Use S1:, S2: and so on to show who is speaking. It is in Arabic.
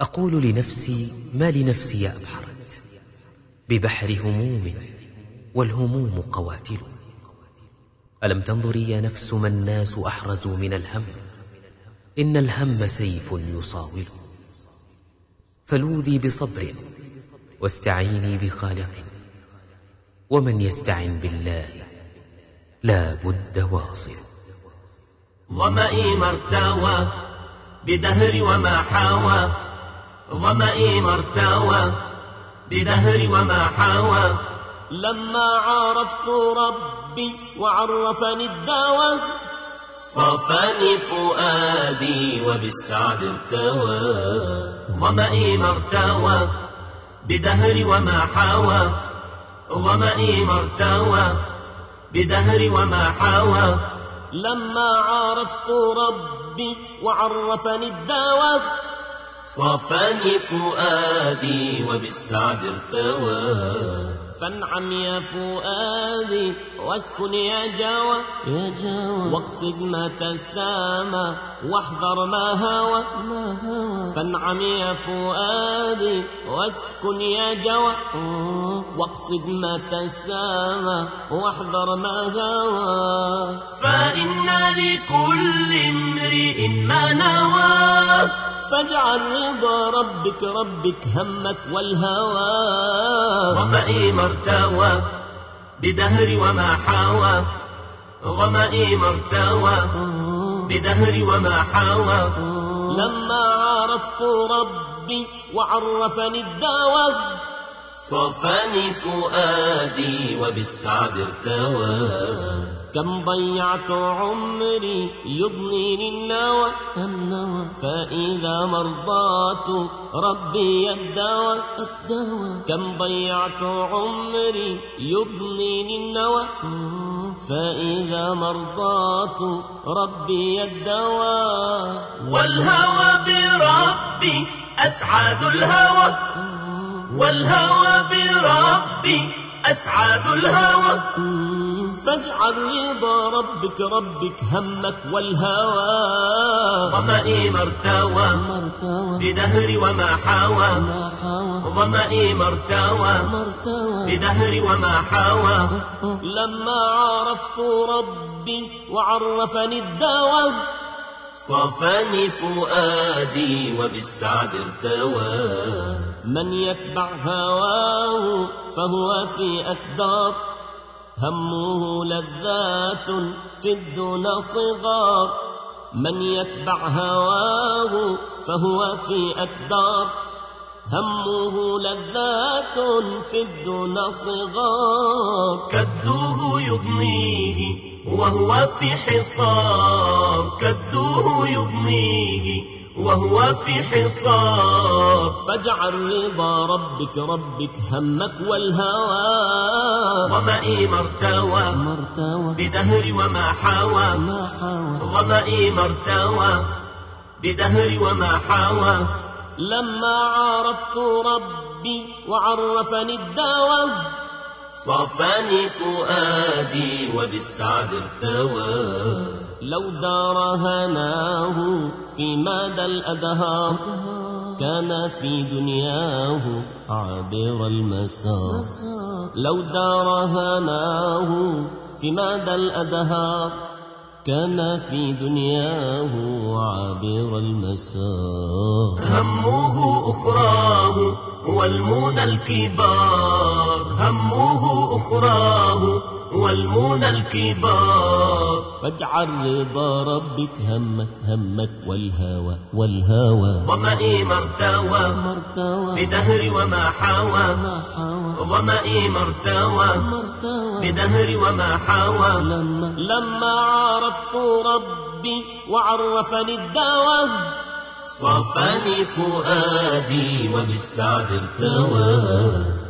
S1: أقول لنفسي ما لنفسي أبحرت ببحر هموم والهموم قواتل ألم تنظري يا نفس ما الناس أحرزوا من الهم إن الهم سيف يصاول فلوذي بصبر واستعيني بخالق ومن يستعن بالله لا بد واصل
S2: ظمئي ما ارتوى بدهر وما حاوى ظمئي ما ارتوى بدهر وما حاوى لما عرفت ربي وعرفني الدواء صافاني فؤادي وبالسعد ارتوى ظمئي ما ارتوى بدهر وما حاوى ظمئي ما ارتوى بدهر وما حاوى لما عرفت ربي وعرفني الدواء صافاني فؤادي وبالسعد ارتوى فانعم يا فؤادي واسكن يا جوى يا جوى واقصد ما تسامى واحذر ما هوى ما هوى فانعم يا فؤادي واسكن يا جوى واقصد ما تسامى واحذر ما هوى فإن لكل امرئ ما نوى فاجعل رضا ربك ربك همك والهوى ظمئي ما ارتوى بدهري وما حاوى ظمئي ما ارتوى بدهري وما حاوى لما عرفت ربي وعرفني الدواء صفاني فؤادي وبالسعد ارتوى كم ضيعت عمري يضنيني النوى النوى فإذا مرضات ربي الدوى الدوى كم ضيعت عمري يضنيني النوى فإذا مرضات ربي الدوى والهوى بربي أسعد الهوى والهوى بربي أسعد الهوى فاجعل رضا ربك ربك همك والهوى ظمئي ما ارتوى بدهري وما حاوى ظمئي ما ارتوى بدهري وما حاوى لما عرفت ربي وعرفني الدواء صفاني فؤادي وبالسعد ارتوى من يتبع هواه فهو في أكدار همه لذات في الدنى صغار من يتبع هواه فهو في أكدار همه لذات في الدنى صغار كدوه يضنيه وهو في حصار كدوه يضنيه وهو في حصار فاجعل رضا ربك ربك همك والهوى ظمئي ما ارتوى بدهري وما حاوى ظمئي ما ارتوى بدهري وما حاوى لما عرفت ربي وعرفني الدواء صفاني فؤادي وبالسعد ارتوى لو دار هناه في مدى الأدهار كان في دنياه عابر المسار لو دار هناه في مدى الأدهار كان في دنياه عابر المسار همه أخراه والمنى الكبار همه أخراه والمنى الكبار فاجعل رضا ربك همك همك والهوى والهوى ظمئي ما ارتوى بدهري وما حاوى ظمئي ما ارتوى بدهري وما حاوى لما عرفت ربي وعرفني الدواء صفاني فؤادي وبالسعد ارتوى